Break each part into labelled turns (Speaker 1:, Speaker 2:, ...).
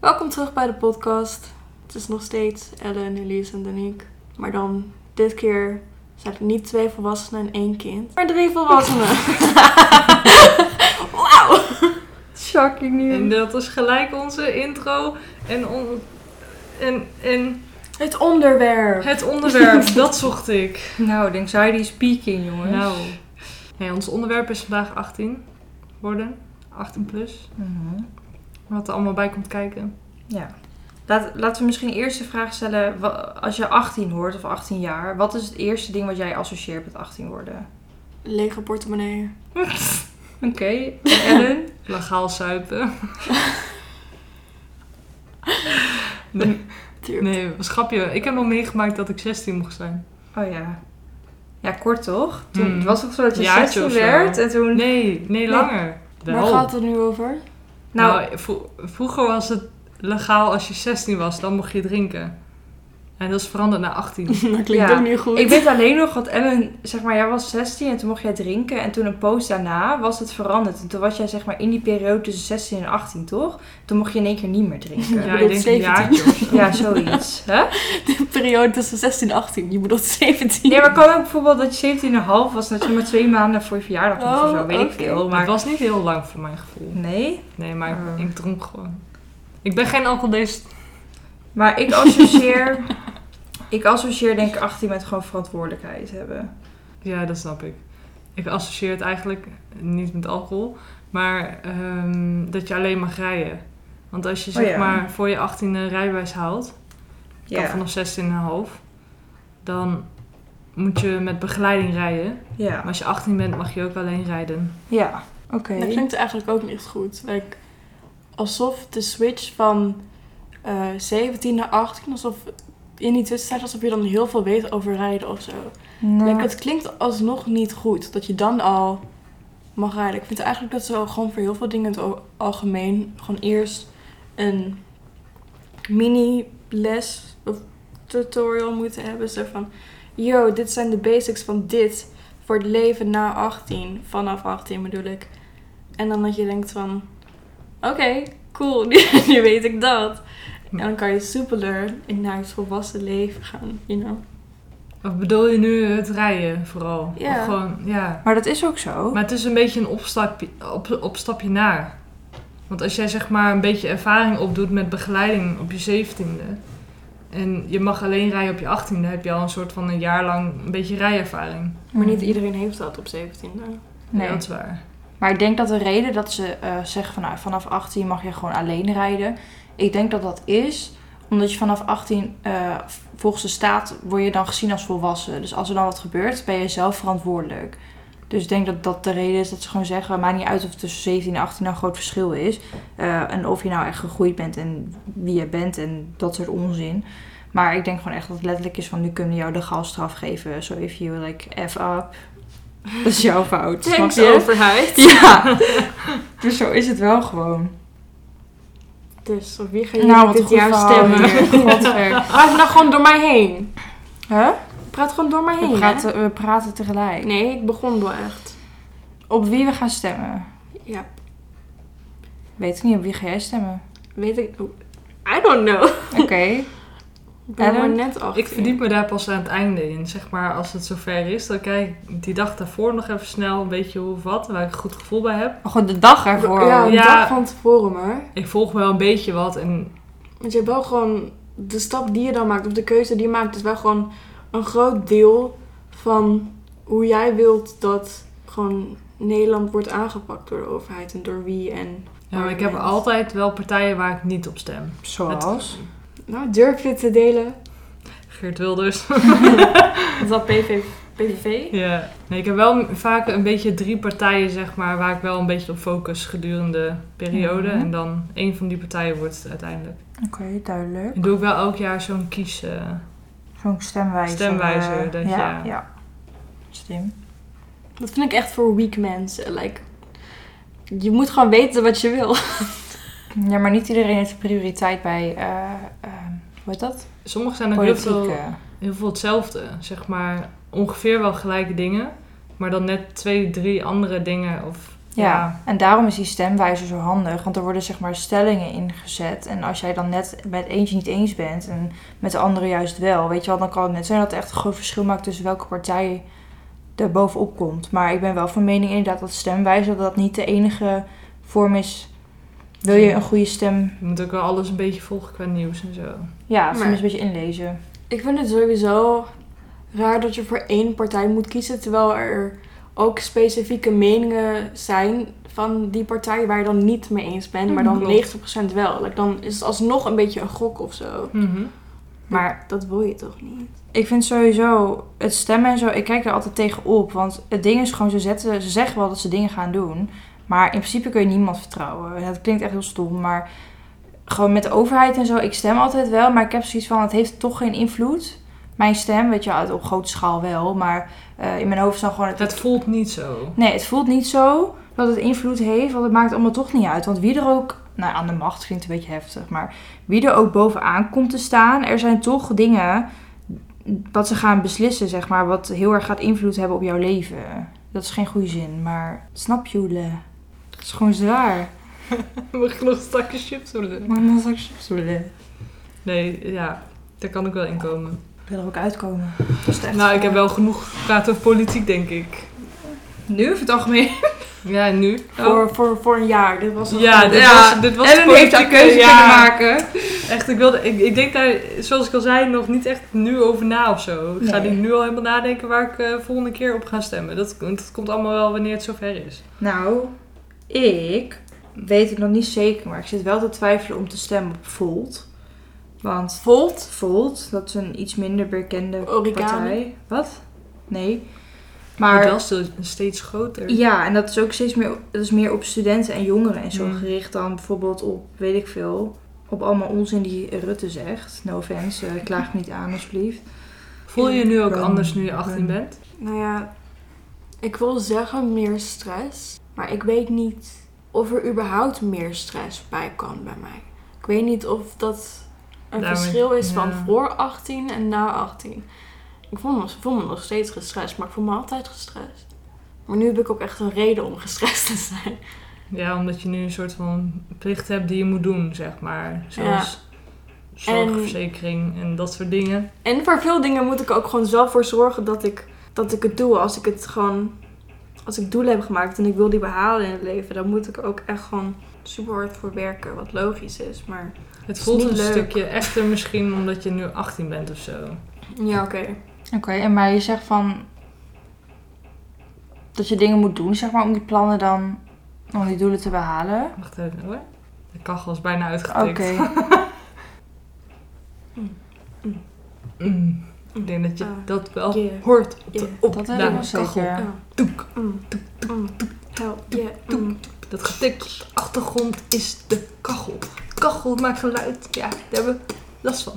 Speaker 1: Welkom terug bij de podcast. Het is nog steeds Ellen, Elise en Danique. Maar dan, dit keer zijn er niet twee volwassenen en één kind, maar drie volwassenen. Wauw! Shocking
Speaker 2: En
Speaker 1: nieuws.
Speaker 2: dat is gelijk onze intro en, on- en, en
Speaker 1: Het onderwerp.
Speaker 2: het onderwerp, dat zocht ik.
Speaker 3: Nou, anxiety is peaking, jongens.
Speaker 2: Nou, nee, ons onderwerp is vandaag 18 worden, 18 plus,
Speaker 3: Mhm.
Speaker 2: wat er allemaal bij komt kijken.
Speaker 3: Ja. Laat, laten we misschien eerst de vraag stellen, wa- als je 18 wordt of 18 jaar, wat is het eerste ding wat jij associeert met 18 worden?
Speaker 1: Lege portemonnee.
Speaker 3: Oké, Ellen?
Speaker 2: Legaal zuipen.
Speaker 1: Tuurlijk.
Speaker 2: Nee, wat schapje. Ik heb nog meegemaakt dat ik 16 mocht zijn.
Speaker 3: Oh ja. Ja, kort toch? Toen,
Speaker 2: Hmm.
Speaker 3: Het was toch zo dat je
Speaker 2: Jaartje
Speaker 3: 16
Speaker 2: of zo.
Speaker 3: werd en toen...
Speaker 2: Nee, nee, langer.
Speaker 1: Waar
Speaker 2: Wel.
Speaker 1: gaat het nu over?
Speaker 3: Nou,
Speaker 2: Nou, vro- vroeger was het legaal als je 16 was, dan mocht je drinken. En dat is veranderd naar 18.
Speaker 1: dat klinkt
Speaker 3: Ja.
Speaker 1: ook niet goed.
Speaker 3: ik weet alleen nog dat Ellen, zeg maar, jij was 16 en toen mocht jij drinken. En toen een poos daarna was het veranderd. En toen was jij, zeg maar, in die periode tussen 16 en 18, toch? Toen mocht je in één keer niet meer drinken.
Speaker 2: Ja,
Speaker 1: bedoelt
Speaker 2: ik denk een
Speaker 1: 17.
Speaker 2: jaartje of zo.
Speaker 3: Ja, zoiets. Hè?
Speaker 1: De periode tussen 16 en 18. Je bedoelt 17.
Speaker 3: Nee, maar kan ook bijvoorbeeld dat je 17,5 was en dat je maar twee maanden voor je verjaardag moest of
Speaker 1: Oh,
Speaker 3: zo, weet
Speaker 1: oké.
Speaker 3: ik veel.
Speaker 2: Maar het
Speaker 3: Maar
Speaker 2: was niet heel lang voor mijn gevoel.
Speaker 3: nee,
Speaker 2: Nee, maar ik-
Speaker 3: Ah.
Speaker 2: ik dronk gewoon. Ik ben geen alcoholist.
Speaker 3: maar ik associeer, ik associeer denk ik 18 met gewoon verantwoordelijkheid hebben.
Speaker 2: Ja, dat snap ik. Ik associeer het eigenlijk niet met alcohol. Maar ehm, dat je alleen mag rijden. Want als je
Speaker 3: Oh
Speaker 2: zeg
Speaker 3: ja.
Speaker 2: maar voor je 18e rijbewijs haalt,
Speaker 3: Ja,
Speaker 2: kan vanaf 16,5, dan moet je met begeleiding rijden.
Speaker 3: ja,
Speaker 2: Maar als je 18 bent, mag je ook alleen rijden.
Speaker 3: ja. Oké.
Speaker 1: Dat klinkt eigenlijk ook niet goed. Like, alsof de switch van eh 17 naar 18, alsof in die tussentijd alsof je dan heel veel weet over rijden of zo.
Speaker 3: Nou,
Speaker 1: Like, het klinkt alsnog niet goed dat je dan al mag rijden. Ik vind eigenlijk dat ze gewoon voor heel veel dingen in het o- algemeen gewoon eerst een mini-les of tutorial moeten hebben. Zo van, yo, dit zijn de basics van dit voor het leven na 18, vanaf 18 bedoel ik. En dan dat je denkt van, oké, cool, nu, nu weet ik dat. En dan kan je soepeler in naar het volwassen leven gaan, you know.
Speaker 2: Of bedoel je nu het rijden vooral?
Speaker 1: Ja.
Speaker 2: Of gewoon, ja.
Speaker 3: Maar dat is ook zo.
Speaker 2: Maar het is een beetje een opstapje, op, opstapje naar. Want als jij zeg maar een beetje ervaring opdoet met begeleiding op je 17e. En je mag alleen rijden op je 18e, heb je al een soort van een jaar lang een beetje rijervaring.
Speaker 1: Maar niet iedereen heeft dat op 17. hè?
Speaker 3: Nee.
Speaker 2: Ja, dat is waar.
Speaker 3: Maar ik denk dat de reden dat ze eh, zeggen van nou, vanaf 18 mag je gewoon alleen rijden. Ik denk dat dat is omdat je vanaf 18, eh, volgens de staat, word je dan gezien als volwassen. Dus als er dan wat gebeurt, ben je zelf verantwoordelijk. Dus ik denk dat dat de reden is dat ze gewoon zeggen: maakt niet uit of het tussen 17 en 18 nou een groot verschil is. eh, en of je nou echt gegroeid bent en wie je bent en dat soort onzin. Maar ik denk gewoon echt dat het letterlijk is van nu kunnen we jou de galstraf geven. So if you like F up, dat is jouw fout. snap
Speaker 1: Thanks,
Speaker 3: je?
Speaker 1: overheid.
Speaker 3: Ja, dus zo is het wel gewoon.
Speaker 1: Dus op wie gaan jullie dit jaar stemmen?
Speaker 3: Godver.
Speaker 1: Praat nou gewoon door mij heen.
Speaker 3: Huh?
Speaker 1: Praat gewoon door mij heen.
Speaker 3: We
Speaker 1: hè?
Speaker 3: praten, we praten tegelijk.
Speaker 1: Nee, ik begon wel echt.
Speaker 3: Op wie we gaan stemmen?
Speaker 1: Ja,
Speaker 3: Weet ik niet, op wie ga jij stemmen?
Speaker 1: weet ik. oh, I don't know.
Speaker 3: Oké.
Speaker 1: Ik ben er maar
Speaker 3: Ellen?
Speaker 1: net achter.
Speaker 2: Ik verdiep me daar pas aan het einde in. Zeg maar als het zover is, dan kijk ik die dag daarvoor nog even snel een beetje hoe of wat, waar ik een goed gevoel bij heb.
Speaker 3: Maar goed, Oh, de dag ervoor.
Speaker 1: Ja, een
Speaker 2: Ja.
Speaker 1: dag van tevoren maar.
Speaker 2: Ik volg wel een beetje wat en
Speaker 1: Want je hebt wel gewoon. De stap die je dan maakt, of de keuze die je maakt, is wel gewoon een groot deel van hoe jij wilt dat gewoon Nederland wordt aangepakt door de overheid en door wie en.
Speaker 2: ja, maar ik heb
Speaker 1: parlement.
Speaker 2: altijd wel partijen waar ik niet op stem.
Speaker 3: Zoals?
Speaker 1: Nou, durf je te delen?
Speaker 2: Geert Wilders.
Speaker 1: Is dat PV, PVV?
Speaker 2: Ja, nee, ik heb wel m- vaak een beetje drie partijen, zeg maar, waar ik wel een beetje op focus gedurende de periode.
Speaker 3: Mhm.
Speaker 2: En dan één van die partijen wordt het uiteindelijk.
Speaker 3: Oké, duidelijk.
Speaker 2: En doe ik wel elk jaar zo'n kies. eh,
Speaker 3: Zo'n stemwijzer.
Speaker 2: Stemwijzer,
Speaker 3: eh,
Speaker 2: dat
Speaker 3: ja.
Speaker 2: je-
Speaker 3: ja. Slim.
Speaker 1: Dat vind ik echt voor weak mensen. Like, je moet gewoon weten wat je wil.
Speaker 3: Ja, maar niet iedereen heeft prioriteit bij, eh, eh, hoe heet dat?
Speaker 2: sommige zijn ook heel
Speaker 3: Politiek.
Speaker 2: veel,
Speaker 3: eh.
Speaker 2: heel veel hetzelfde, zeg maar. Ongeveer wel gelijke dingen, maar dan net twee, drie andere dingen. Of
Speaker 3: Ja.
Speaker 2: Ja.
Speaker 3: en daarom is die stemwijzer zo handig. Want er worden zeg maar stellingen ingezet. En als jij dan net met eentje niet eens bent en met de andere juist wel, weet je wel, dan kan het net zijn dat er echt een groot verschil maakt tussen welke partij er bovenop komt. Maar ik ben wel van mening inderdaad dat stemwijzer dat niet de enige vorm is. Wil je een goede stem?
Speaker 2: Je moet ook wel alles een beetje volgen qua nieuws en zo.
Speaker 3: Ja, soms
Speaker 1: Maar-
Speaker 3: een beetje inlezen.
Speaker 1: Ik vind het sowieso raar dat je voor één partij moet kiezen, terwijl er ook specifieke meningen zijn van die partij waar je dan niet mee eens bent, maar dan
Speaker 2: Mhm.
Speaker 1: 90% wel. Like, dan is het alsnog een beetje een gok of zo.
Speaker 3: Maar
Speaker 1: Dat wil je toch niet?
Speaker 3: Ik vind sowieso het stemmen en zo, ik kijk er altijd tegen op. Want het ding is gewoon, ze, zetten, ze zeggen wel dat ze dingen gaan doen. Maar in principe kun je niemand vertrouwen. Dat klinkt echt heel stom. Maar gewoon met de overheid en zo, ik stem altijd wel. Maar ik heb zoiets van, het heeft toch geen invloed. Mijn stem, weet je, wel, op grote schaal wel. Maar eh, in mijn hoofd is dan gewoon... Het,
Speaker 2: Het voelt niet zo.
Speaker 3: nee, het voelt niet zo dat het invloed heeft. Want het maakt allemaal toch niet uit. Want wie er ook... Nou, aan de macht klinkt een beetje heftig. Maar wie er ook bovenaan komt te staan, er zijn toch dingen wat ze gaan beslissen, zeg maar, wat heel erg gaat invloed hebben op jouw leven. Dat is geen goede zin, maar snap jullie? Het is gewoon zwaar.
Speaker 2: Mag ik nog stakken chips doen?
Speaker 3: Maar dan zal ik zullen.
Speaker 2: Nee, ja. Daar kan ik wel in komen.
Speaker 3: Ik wil er ook uitkomen. Dat is echt
Speaker 2: Nou, ik heb wel genoeg gepraat over politiek, denk ik.
Speaker 3: Nu of het algemeen?
Speaker 2: Ja, en nu?
Speaker 1: Voor, voor, voor een jaar. Oh. Dit was nog-
Speaker 2: Ja, dit
Speaker 3: Ja,
Speaker 2: was, dit was
Speaker 3: Ellen heeft haar
Speaker 2: politieke-
Speaker 3: keuze
Speaker 2: ja.
Speaker 3: kunnen maken.
Speaker 2: Echt, ik, wilde, ik, ik denk daar, zoals ik al zei, nog niet echt nu over na of zo. Ik ga
Speaker 3: Nee.
Speaker 2: niet nu al helemaal nadenken waar ik eh, volgende keer op ga stemmen. Dat, dat komt allemaal wel wanneer het zover is.
Speaker 3: Nou, ik weet het nog niet zeker, maar ik zit wel te twijfelen om te stemmen op Volt. Want
Speaker 1: Volt.
Speaker 3: Volt, dat is een iets minder bekende
Speaker 1: Origami.
Speaker 3: partij. Wat? Nee.
Speaker 2: Maar
Speaker 3: Maar
Speaker 2: wel stil- dus steeds groter.
Speaker 3: Ja, en dat is ook steeds meer, dat is meer op studenten en jongeren en zo
Speaker 1: Hmm.
Speaker 2: Mm.
Speaker 3: gericht dan bijvoorbeeld op, weet ik veel, op allemaal onzin die Rutte zegt. No offense, eh, klaag me niet aan alsjeblieft.
Speaker 2: Voel je je nu ook
Speaker 3: Run,
Speaker 2: anders nu je 18
Speaker 3: run.
Speaker 2: bent?
Speaker 1: Nou ja, ik wil zeggen meer stress, maar ik weet niet of er überhaupt meer stress bij kan bij mij. Ik weet niet of dat een
Speaker 2: Daarmee-
Speaker 1: verschil is van
Speaker 2: ja.
Speaker 1: voor 18 en na 18. Ik voel, me, ik voel me nog steeds gestrest, maar ik voel me altijd gestrest. Maar nu heb ik ook echt een reden om gestrest te zijn.
Speaker 2: Ja, omdat je nu een soort van plicht hebt die je moet doen, zeg maar. Zoals zorgverzekering en dat soort dingen.
Speaker 1: En voor veel dingen moet ik er ook gewoon zelf voor zorgen dat ik, dat ik het doe. Als ik het gewoon, als ik doelen heb gemaakt en ik wil die behalen in het leven, dan moet ik er ook echt gewoon super hard voor werken. Wat logisch is, maar
Speaker 2: Het
Speaker 1: is
Speaker 2: voelt
Speaker 1: niet
Speaker 2: een
Speaker 1: leuk.
Speaker 2: stukje echter misschien omdat je nu 18 bent of zo.
Speaker 1: ja, oké.
Speaker 3: Oké, en maar je zegt van dat je dingen moet doen, zeg maar, om die plannen dan, om die doelen te behalen.
Speaker 2: Wacht even hoor. De kachel is bijna
Speaker 3: Oké.
Speaker 2: uitgetikt. Mm. Ik denk dat je
Speaker 1: Ah.
Speaker 2: dat wel
Speaker 1: Yeah.
Speaker 2: hoort op de
Speaker 1: Yeah.
Speaker 3: Dat
Speaker 2: opname.
Speaker 3: weet ik wel
Speaker 2: Kachel.
Speaker 3: zeker.
Speaker 1: Ja.
Speaker 2: Toek.
Speaker 1: Mm. Mm. Help. Yeah. Mm.
Speaker 2: Dat getik op de achtergrond is de kachel. Kachel maakt geluid. Ja, daar hebben we last van.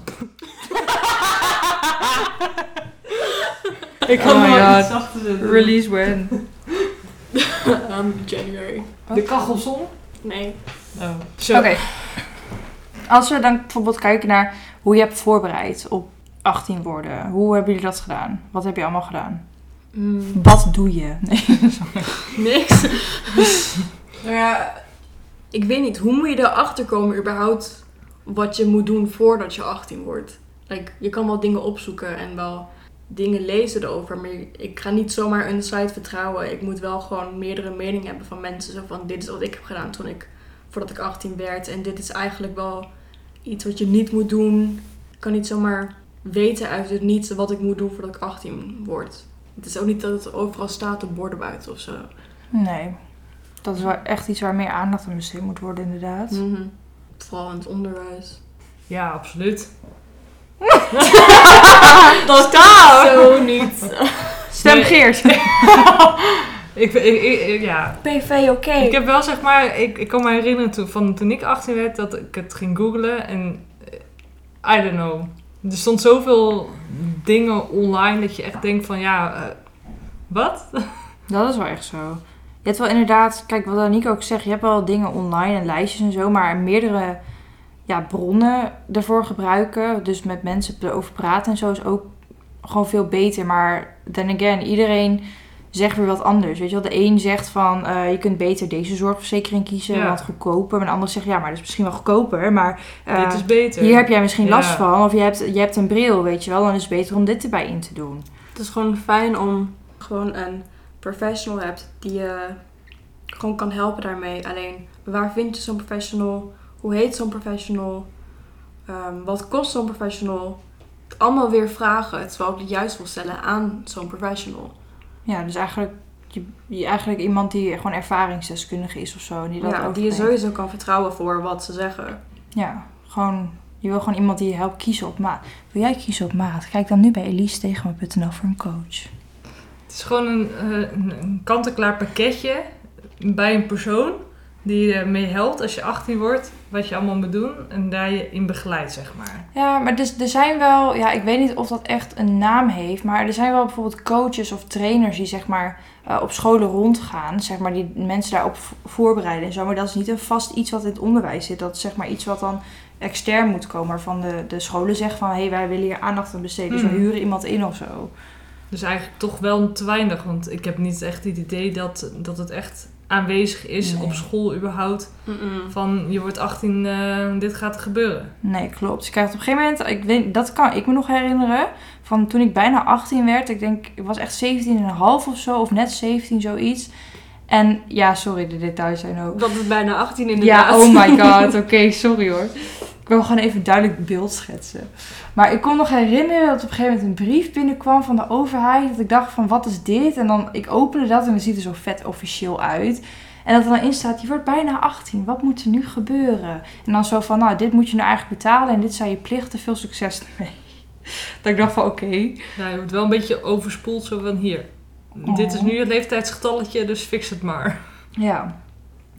Speaker 3: Ik
Speaker 2: kan er wel iets
Speaker 3: achter Release when.
Speaker 1: Um, January.
Speaker 2: De kachelson?
Speaker 1: Nee.
Speaker 2: Oh.
Speaker 3: Oké. Als we dan bijvoorbeeld kijken naar hoe je hebt voorbereid op 18 woorden. Hoe hebben jullie dat gedaan? Wat heb je allemaal gedaan?
Speaker 2: Mm.
Speaker 3: Wat doe je? Nee, sorry.
Speaker 1: Niks. nou ja, ik weet niet. Hoe moet je erachter komen überhaupt wat je moet doen voordat je 18 wordt? Like, je kan wel dingen opzoeken en wel dingen lezen erover. Maar ik ga niet zomaar een site vertrouwen. Ik moet wel gewoon meerdere meningen hebben van mensen. Zo van, dit is wat ik heb gedaan toen ik, voordat ik 18 werd. En dit is eigenlijk wel iets wat je niet moet doen. Ik kan niet zomaar weten uit het niets wat ik moet doen voordat ik 18 word. Het is ook niet dat het overal staat op borden buiten of zo.
Speaker 3: nee. Dat is wel echt iets waar meer aandacht aan besteed moet worden, inderdaad.
Speaker 1: Mhm. Vooral in het onderwijs.
Speaker 2: Ja, absoluut.
Speaker 1: Dat kan zo niet.
Speaker 3: Stem
Speaker 2: Nee.
Speaker 3: Geert!
Speaker 2: Ik, ik, ik- ik- ja.
Speaker 1: PV oké.
Speaker 2: ik heb wel zeg maar, ik, ik kan me herinneren toen, van toen ik 18 werd dat ik het ging googlen en eh, I don't know. Er stond zoveel dingen online dat je echt denkt van ja, eh, wat?
Speaker 3: Dat is wel echt zo. Je hebt wel inderdaad, kijk wat Aniek ook zegt, je hebt wel dingen online en lijstjes en zo, maar meerdere ja, bronnen daarvoor gebruiken. Dus met mensen erover praten en zo is ook gewoon veel beter. Maar then again, iedereen zegt weer wat anders. Weet je wel, de een zegt van eh, je kunt beter deze zorgverzekering kiezen,
Speaker 2: Ja.
Speaker 3: want goedkoper. Maar de ander zegt ja, maar dat is misschien wel goedkoper, maar eh,
Speaker 2: Dit is beter.
Speaker 3: hier heb jij misschien
Speaker 2: Ja.
Speaker 3: last van. Of je hebt, je hebt een bril, weet je wel, dan is het beter om dit erbij in te doen.
Speaker 1: Het is gewoon fijn om gewoon een professional hebt die je gewoon kan helpen daarmee. Alleen waar vind je zo'n professional? Hoe heet zo'n professional? Ehm, wat kost zo'n professional? Allemaal weer vragen, terwijl ik het juist wil stellen aan zo'n professional.
Speaker 3: Ja, dus eigenlijk, je, je- eigenlijk iemand die gewoon ervaringsdeskundige is of zo. en Die dat
Speaker 1: Ja, die je
Speaker 3: overneemt.
Speaker 1: sowieso kan vertrouwen voor wat ze zeggen.
Speaker 3: Ja, gewoon. Je wil gewoon iemand die je helpt kiezen op maat. Wil jij kiezen op maat? Kijk dan nu bij elisestegenma.nl voor een coach.
Speaker 2: Het is gewoon een, eh, een- een kant-en-klaar pakketje bij een persoon die je mee helpt als je 18 wordt, wat je allemaal moet doen en daar je in begeleidt, zeg maar.
Speaker 3: Ja, maar dus, er zijn wel, ja, ik weet niet of dat echt een naam heeft, maar er zijn wel bijvoorbeeld coaches of trainers die zeg maar eh, op scholen rondgaan, zeg maar, die mensen daarop v- voorbereiden en zo. Maar dat is niet een vast iets wat in het onderwijs zit. Dat is zeg maar iets wat dan extern moet komen, waarvan de, de scholen zeggen van, hé, hey, wij willen hier aandacht aan besteden, dus we
Speaker 2: Hmm.
Speaker 3: huren iemand in of zo.
Speaker 2: Dus eigenlijk toch wel te weinig, want ik heb niet echt het idee dat, dat het echt aanwezig is
Speaker 3: Nee. Hm.
Speaker 2: op school überhaupt.
Speaker 1: Mm-mm.
Speaker 2: Van je wordt 18, eh, dit gaat er gebeuren.
Speaker 3: Nee, klopt. Dus ik krijg het op een gegeven moment, ik weet, dat kan ik me nog herinneren, van toen ik bijna 18 werd. Ik denk, ik was echt 17,5 of zo, of net 17, zoiets. En ja, sorry, de details zijn ook.
Speaker 1: Dat is bijna 18 inderdaad.
Speaker 3: Ja, oh my god, oké, sorry hoor. Ik wil gewoon even duidelijk beeld schetsen. Maar ik kon nog herinneren dat op een gegeven moment een brief binnenkwam van de overheid. Dat ik dacht van, wat is dit? En dan, ik opende dat en het ziet er zo vet officieel uit. En dat er dan in staat, je wordt bijna 18, wat moet er nu gebeuren? En dan zo van, nou, dit moet je nou eigenlijk betalen en dit zijn je plichten, veel succes ermee. Dat ik dacht van, oké.
Speaker 2: Ja, je wordt wel een beetje overspoeld zo van hier.
Speaker 3: Oh.
Speaker 2: Dit is nu je leeftijdsgetalletje, dus fix het maar.
Speaker 3: Ja.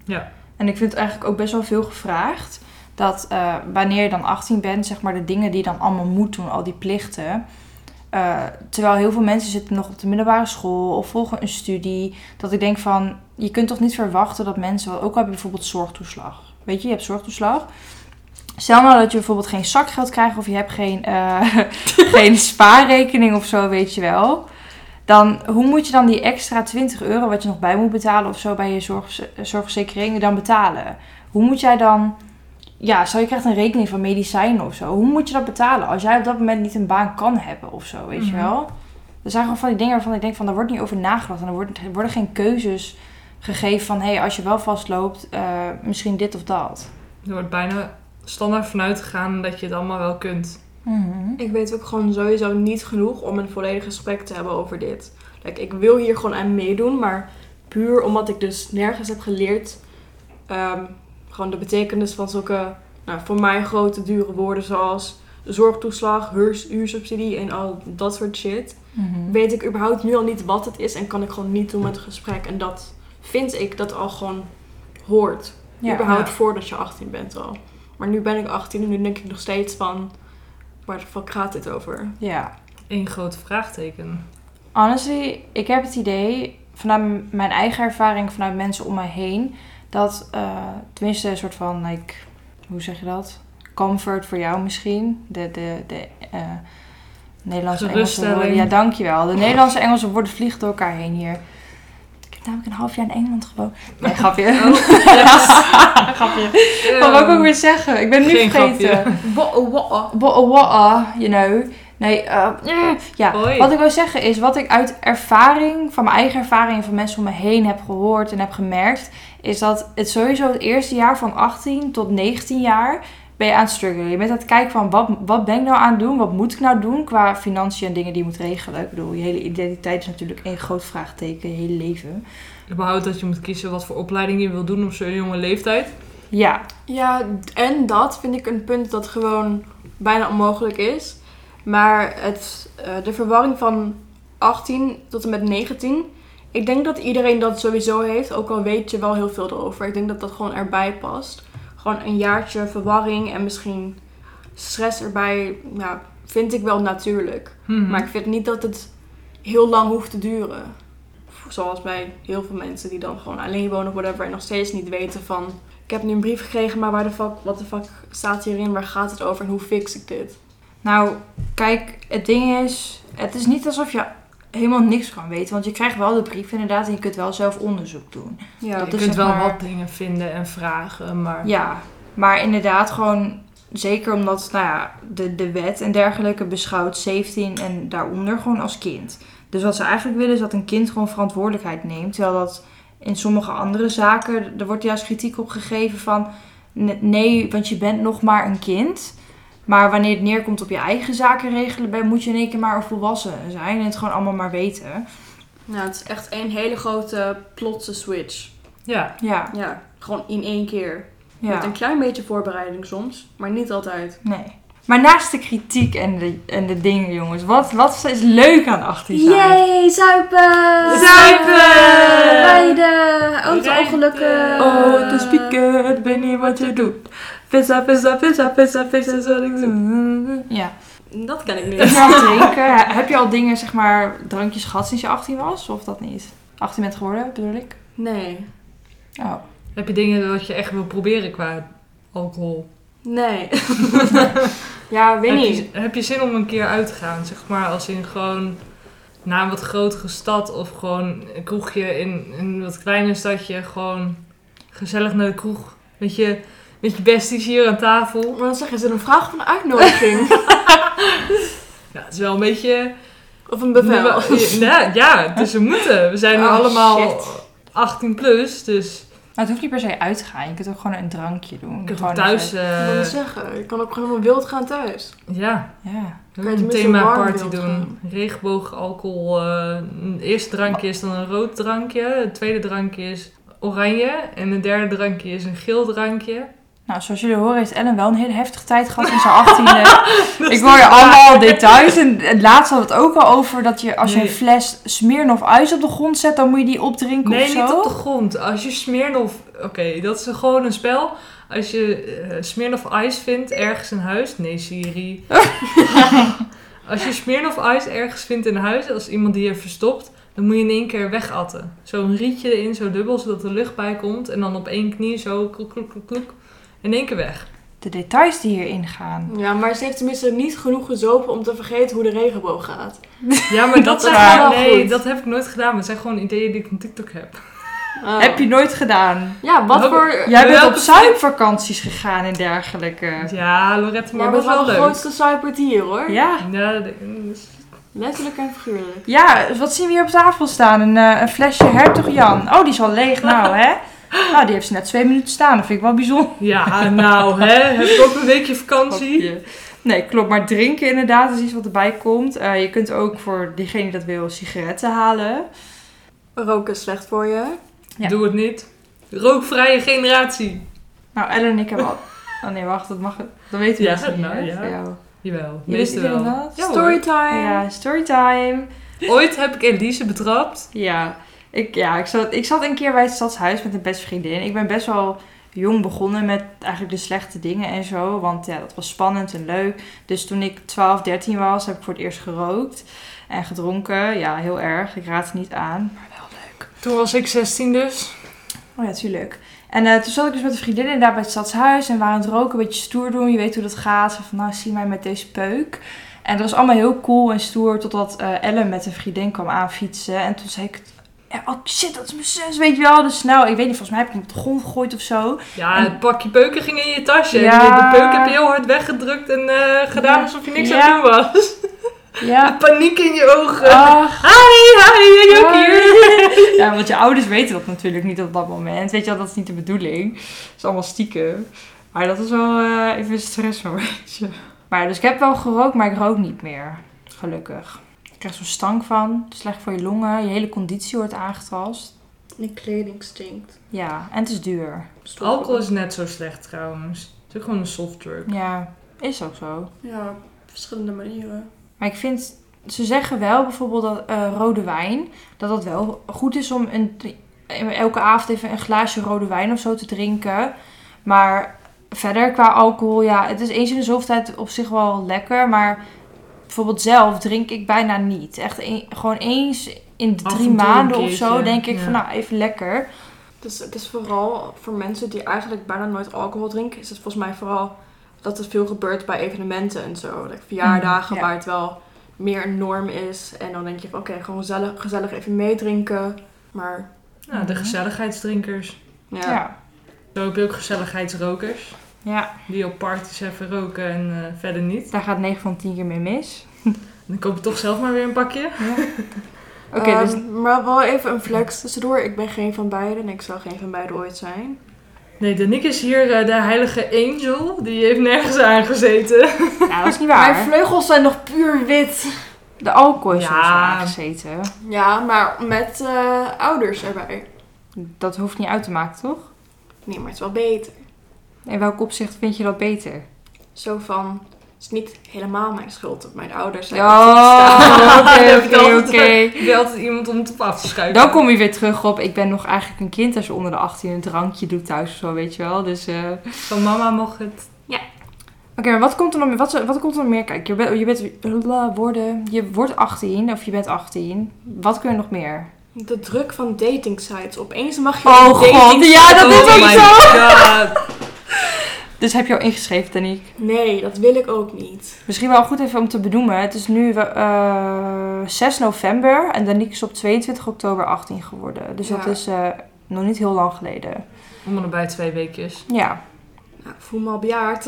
Speaker 2: Ja.
Speaker 3: En ik vind het eigenlijk ook best wel veel gevraagd. Dat eh, wanneer je dan 18 bent, zeg maar de dingen die je dan allemaal moet doen, al die plichten. eh, terwijl heel veel mensen zitten nog op de middelbare school of volgen een studie. Dat ik denk van, je kunt toch niet verwachten dat mensen, ook al heb je bijvoorbeeld zorgtoeslag. Weet je, je hebt zorgtoeslag. Stel nou dat je bijvoorbeeld geen zakgeld krijgt of je hebt geen, eh, geen spaarrekening of zo, weet je wel. Dan, hoe moet je dan die extra 20 euro wat je nog bij moet betalen of zo bij je zorg, zorgverzekering dan betalen? Hoe moet jij dan, ja, stel je krijgt een rekening van medicijnen of zo. Hoe moet je dat betalen als jij op dat moment niet een baan kan hebben of zo, weet je
Speaker 2: Mhm.
Speaker 3: wel? Er zijn gewoon van die dingen waarvan ik denk van, daar wordt niet over nagedacht. En er wordt- er worden geen keuzes gegeven van, hé, hey, als je wel vastloopt, eh, misschien dit of dat.
Speaker 2: Er wordt bijna standaard vanuit gegaan dat je het allemaal wel kunt.
Speaker 1: Ik weet ook gewoon sowieso niet genoeg om een volledig gesprek te hebben over dit. Like, ik wil hier gewoon aan meedoen, maar puur omdat ik dus nergens heb geleerd ehm, gewoon de betekenis van zulke, nou, voor mij grote dure woorden zoals zorgtoeslag, huurs- huursubsidie en al dat soort shit. Weet ik überhaupt nu al niet wat het is en kan ik gewoon niet doen met een gesprek. En dat vind ik dat al gewoon hoort
Speaker 3: Ja.
Speaker 1: überhaupt
Speaker 2: Ja.
Speaker 1: voordat je 18 bent al. Maar nu ben ik 18 en nu denk ik nog steeds van... Waar de fuck gaat dit over?
Speaker 3: Ja.
Speaker 2: Eén groot vraagteken.
Speaker 3: Honestly, ik heb het idee, vanuit m- mijn eigen ervaring, vanuit mensen om mij heen, dat, eh, tenminste een soort van, like, hoe zeg je dat? Comfort voor jou misschien. De, de, de eh, Nederlandse en Engelse
Speaker 2: Geruststelling.
Speaker 3: woorden. Ja, dankjewel. De Nederlandse en Engelse woorden vliegen door elkaar heen hier. Ik heb namelijk een half jaar in Engeland gewoond. Nee, grapje.
Speaker 2: Oh,
Speaker 3: grapje. Wat
Speaker 2: Ehm,
Speaker 3: wil ik ook weer zeggen? Ik ben het nu
Speaker 2: Geen grapje.
Speaker 3: vergeten. Bo- wa- you know. Nee, eh, mm, ja.
Speaker 2: Hoi.
Speaker 3: Wat ik wil zeggen is, wat ik uit ervaring, van mijn eigen ervaring en van mensen om me heen heb gehoord en heb gemerkt, is dat het sowieso het eerste jaar van 18 tot 19 jaar ben je aan het struggelen. Je bent aan het kijken van, wat, wat ben ik nou aan het doen? Wat moet ik nou doen qua financiën en dingen die je moet regelen? Ik bedoel, je hele identiteit is natuurlijk één groot vraagteken, je hele leven.
Speaker 2: Überhaupt dat je moet kiezen wat voor opleiding je wil doen op zo'n jonge leeftijd.
Speaker 3: Ja,
Speaker 1: Ja, en dat vind ik een punt dat gewoon bijna onmogelijk is. Maar het, eh, de verwarring van 18 tot en met 19... Ik denk dat iedereen dat sowieso heeft. Ook al weet je wel heel veel erover. Ik denk dat dat gewoon erbij past. Gewoon een jaartje verwarring en misschien stress erbij. Ja, vind ik wel natuurlijk.
Speaker 2: Mhm.
Speaker 1: Maar ik vind niet dat het heel lang hoeft te duren. Zoals bij heel veel mensen die dan gewoon alleen wonen of whatever en nog steeds niet weten van... Ik heb nu een brief gekregen, maar waar de fuck, wat de fuck staat hierin? Waar gaat het over en hoe fix ik dit?
Speaker 3: Nou, kijk, het ding is, het is niet alsof je helemaal niks kan weten. Want je krijgt wel de brief inderdaad en je kunt wel zelf onderzoek doen.
Speaker 1: Ja,
Speaker 3: dat
Speaker 2: je
Speaker 3: is
Speaker 2: kunt
Speaker 3: zeg
Speaker 2: wel
Speaker 3: maar-
Speaker 2: wat dingen vinden en vragen, maar...
Speaker 3: Ja, maar inderdaad gewoon... Zeker omdat nou ja, de, de wet en dergelijke beschouwt 17 en daaronder gewoon als kind. Dus wat ze eigenlijk willen is dat een kind gewoon verantwoordelijkheid neemt. Terwijl dat in sommige andere zaken, er wordt juist kritiek op gegeven van... "N- Nee, want je bent nog maar een kind. Maar wanneer het neerkomt op je eigen zaken regelen, ben, moet je in één keer maar een volwassen zijn. En het gewoon allemaal maar weten.
Speaker 1: Nou, het is echt een hele grote plotse switch.
Speaker 2: Ja,
Speaker 3: Ja,
Speaker 1: Ja, gewoon in één keer. Met
Speaker 3: ja.
Speaker 1: een klein beetje voorbereiding soms, maar niet altijd.
Speaker 3: Nee. Maar naast de kritiek en de, en de dingen, jongens. Wat, wat is leuk aan 18 zijn?
Speaker 1: zuipen!
Speaker 2: Zuipen!
Speaker 1: Rijden! Auto-ongelukken!
Speaker 3: Oh, de speaker, ik weet niet wat je doet. Pizza, pizza, pizza, pizza, pizza, is wat ik doe. Ja.
Speaker 1: Dat ken ik niet.
Speaker 3: Ja, zeker. He- Heb je al dingen, zeg maar, drankjes gehad sinds je 18 was? Of dat niet? 18 bent geworden, bedoel ik?
Speaker 1: Nee.
Speaker 3: Oh.
Speaker 2: heb je dingen dat je echt wil proberen qua alcohol?
Speaker 1: Nee. ja, weet
Speaker 2: heb,
Speaker 1: niet.
Speaker 2: je, heb je zin om een keer uit te gaan? Zeg maar als in gewoon naar een wat grotere stad of gewoon een kroegje in een wat kleiner stadje. Gewoon gezellig naar de kroeg met je, met je besties hier aan tafel.
Speaker 1: Maar dan zeggen ze een vraag van uitnodiging.
Speaker 2: Ja, het is wel een beetje...
Speaker 1: of een bevel.
Speaker 2: Ja, nou, ja, het is een moeten. We zijn nu
Speaker 3: Oh,
Speaker 2: allemaal
Speaker 3: shit.
Speaker 2: 18 plus, dus
Speaker 3: Maar het hoeft niet per se uit te gaan. Je kunt ook gewoon een drankje doen.
Speaker 2: ik kan
Speaker 3: Gewoon
Speaker 2: toch thuis...
Speaker 3: even-
Speaker 1: Ik wil niet
Speaker 2: eh
Speaker 1: zeggen. Je kan ook gewoon helemaal wild gaan thuis.
Speaker 2: ja,
Speaker 3: Ja.
Speaker 1: Kan je
Speaker 2: ook een
Speaker 1: tenminste warm
Speaker 2: themaparty
Speaker 1: wilt
Speaker 2: doen.
Speaker 1: gaan.
Speaker 2: Regenboog, alcohol. eh, een eerste drankje is dan een rood drankje. Het tweede drankje is oranje. En het derde drankje is een geel drankje.
Speaker 3: Nou, zoals jullie horen heeft Ellen wel een hele heftige tijd gehad sinds haar 18e. ik hoor je allemaal details. En het laatste had het ook al over dat je als je
Speaker 2: Nee.
Speaker 3: een fles Smirnoff ijs op de grond zet, dan moet je die opdrinken
Speaker 2: Nee,
Speaker 3: of zo.
Speaker 2: niet op de grond. Als je Smirnoff... Oké, dat is gewoon een spel. Als je eh, Smirnoff Ice vindt ergens in huis... Nee, Siri. als je Smirnoff Ice ergens vindt in huis... Als iemand die je verstopt... Dan moet je in één keer wegatten. Zo'n rietje erin, zo dubbel, zodat er lucht bij komt. En dan op één knie zo... Kloek, kloek, kloek, kloek. In één keer weg.
Speaker 3: De details die hierin gaan.
Speaker 1: Ja, maar ze heeft tenminste niet genoeg gezopen om te vergeten hoe de regenboog gaat.
Speaker 2: Ja, maar dat,
Speaker 1: Dat
Speaker 2: zijn
Speaker 1: is
Speaker 2: gewoon-
Speaker 1: wel
Speaker 2: Nee,
Speaker 1: goed.
Speaker 2: dat heb ik nooit gedaan. Maar het zijn gewoon ideeën die ik van TikTok heb.
Speaker 1: Oh.
Speaker 3: Heb je nooit gedaan.
Speaker 1: Ja, wat
Speaker 2: Welke-
Speaker 1: voor...
Speaker 3: Jij bent op
Speaker 2: Welke-
Speaker 3: zuipvakanties gegaan en dergelijke.
Speaker 2: Ja, Lorette, maar
Speaker 1: Jij
Speaker 2: was
Speaker 1: bent wel
Speaker 2: wel
Speaker 1: de
Speaker 2: leuk.
Speaker 1: grootste zuiper hier, hoor.
Speaker 3: Ja.
Speaker 2: Ja, de-
Speaker 1: Letterlijk en figuurlijk.
Speaker 3: Ja, dus wat zien we hier op tafel staan? Een, eh, een flesje Hertog Jan. Oh, die is al leeg nou, hè? Nou, die heeft ze net twee minuten staan. Dat vind ik wel bijzonder.
Speaker 2: Ja, nou hè, heb ik ook een weekje vakantie.
Speaker 3: Nee, klopt. Maar drinken inderdaad is iets wat erbij komt. Eh, je kunt ook voor diegene die dat wil sigaretten halen.
Speaker 1: Roken is slecht voor je.
Speaker 3: Ja.
Speaker 2: Doe het niet. Rookvrije generatie.
Speaker 3: Nou, Ellen en ik hebben al... Oh nee, wacht. Dat mag... Dat weten we
Speaker 2: Ja,
Speaker 3: dus niet,
Speaker 2: nou,
Speaker 3: hè,
Speaker 2: ja.
Speaker 3: voor jou.
Speaker 2: Jawel,
Speaker 3: Je weet
Speaker 2: meestal
Speaker 3: iedereen
Speaker 2: wel.
Speaker 3: dat?
Speaker 2: Ja,
Speaker 1: Oh.
Speaker 2: hoor.
Speaker 1: Storytime.
Speaker 3: Ja, storytime.
Speaker 2: Ooit heb ik Elise betrapt.
Speaker 3: Ja, ik, ja ik, zat, ik zat een keer bij het stadshuis met een beste vriendin. Ik ben best wel jong begonnen met eigenlijk de slechte dingen en zo. Want ja, dat was spannend en leuk. Dus toen ik 12, 13 was, heb ik voor het eerst gerookt en gedronken. Ja, heel erg. Ik raad het niet aan, maar wel leuk.
Speaker 2: Toen was ik 16 dus.
Speaker 3: Oh ja, tuurlijk. En eh, toen zat ik dus met een vriendin inderdaad bij het stadshuis en we waren aan het roken, een beetje stoer doen. Je weet hoe dat gaat. Zo van, nou, zie mij met deze peuk. En dat was allemaal heel cool en stoer, totdat eh, Ellen met een vriendin kwam aanfietsen. En toen zei ik, ja, oh shit, dat is mijn zus, weet je wel. Dus snel, ik weet niet, volgens mij heb ik hem op de grond gegooid of zo.
Speaker 2: Ja,
Speaker 3: En-
Speaker 2: het pakje peuken ging in je tasje.
Speaker 3: Ja.
Speaker 2: En de peuk heb je heel hard weggedrukt en eh, gedaan
Speaker 3: Ja.
Speaker 2: alsof je niks
Speaker 3: Ja.
Speaker 2: aan het doen was.
Speaker 3: Ja.
Speaker 2: Paniek in je ogen.
Speaker 3: Ach,
Speaker 2: Hi, hi, jij ook hier?
Speaker 3: hoi. Ja, want je ouders weten dat natuurlijk niet op dat moment. Weet je wel, dat is niet de bedoeling. Het is allemaal stiekem. Maar dat is wel eh, even stress voor beetje. Maar dus ik heb wel gerookt, maar ik rook niet meer. Gelukkig. Ik krijg zo'n stank van. Slecht voor je longen. Je hele conditie wordt aangetast.
Speaker 1: Je kleding stinkt.
Speaker 3: Ja, en het is duur.
Speaker 1: Stoppen.
Speaker 2: Alcohol is net zo slecht trouwens. Het is ook gewoon een softdruk.
Speaker 3: Ja, is ook zo.
Speaker 1: Ja, op verschillende manieren.
Speaker 3: Maar ik vind, ze zeggen wel bijvoorbeeld dat eh, rode wijn, dat dat wel goed is om een, eh, elke avond even een glaasje rode wijn of zo te drinken. Maar verder qua alcohol, ja, het is eens in de zoveel tijd op zich wel lekker, maar bijvoorbeeld zelf drink ik bijna niet. Echt een- gewoon eens in de
Speaker 2: Af en
Speaker 3: drie
Speaker 2: toe een
Speaker 3: maanden of
Speaker 2: keertje,
Speaker 3: zo denk ik
Speaker 2: ja.
Speaker 3: van nou even lekker.
Speaker 1: Dus het is vooral voor mensen die eigenlijk bijna nooit alcohol drinken, is het volgens mij vooral dat er veel gebeurt bij evenementen en zo. Like verjaardagen
Speaker 3: Mhm, ja.
Speaker 1: waar het wel meer een norm is. En dan denk je van oké, gewoon gezellig, gezellig even meedrinken. Maar
Speaker 2: Nou, de
Speaker 3: Mhm.
Speaker 2: gezelligheidsdrinkers.
Speaker 1: ja,
Speaker 3: Ja.
Speaker 2: Zo heb je ook gezelligheidsrokers.
Speaker 3: ja,
Speaker 2: Die op parties even roken en eh, verder niet.
Speaker 3: daar gaat 9 van 10 keer mee mis.
Speaker 2: Dan koop je toch zelf maar weer een pakje.
Speaker 3: Oké,
Speaker 1: Ehm,
Speaker 3: dus
Speaker 1: Maar wel even een flex tussendoor. Ik ben geen van beiden en ik zal geen van beiden ooit zijn.
Speaker 2: Nee, de Nick is hier eh, de heilige angel. Die heeft nergens aangezeten.
Speaker 3: nou, dat is niet waar.
Speaker 1: Mijn vleugels zijn nog puur wit.
Speaker 3: De alcohol is
Speaker 2: Ja.
Speaker 3: soms aangezeten.
Speaker 1: Ja, maar met eh, ouders erbij.
Speaker 3: Dat hoeft niet uit te maken, toch?
Speaker 1: Nee, maar het is wel beter.
Speaker 3: In welk opzicht vind je dat beter?
Speaker 1: Zo van, het is niet helemaal mijn schuld dat mijn ouders zijn.
Speaker 3: Oh, oké,
Speaker 2: Heb ik
Speaker 3: oké,
Speaker 2: altijd-
Speaker 3: oké.
Speaker 2: Die had iemand om het op af te schuiven.
Speaker 3: Dan kom je weer terug op, ik ben nog eigenlijk een kind als je onder de 18 een drankje doet thuis of zo, weet je wel. Dus, eh, Oké,
Speaker 2: Van mama mocht het.
Speaker 3: maar wat komt er nog meer? Wat, wat komt er nog meer? Kijk, je bent, je bent bla, worden, je wordt 18 of je bent 18. Wat kun je nog meer?
Speaker 1: De druk van dating sites. Opeens mag je
Speaker 3: Oh
Speaker 1: op dating
Speaker 3: god, ja, dat is
Speaker 2: Oh
Speaker 3: ook
Speaker 2: my
Speaker 3: zo.
Speaker 2: god.
Speaker 3: Dus heb je al ingeschreven, Danique?
Speaker 1: Nee, dat wil ik ook niet.
Speaker 3: Misschien wel goed even om te benoemen. Het is nu eh, 6 november en Danique is op 22 oktober 18 geworden. Dus dat
Speaker 1: Ja.
Speaker 3: is eh, nog niet heel lang geleden.
Speaker 2: Om en bij twee weekjes.
Speaker 3: Ja.
Speaker 1: Nou, ik voel me al bejaard.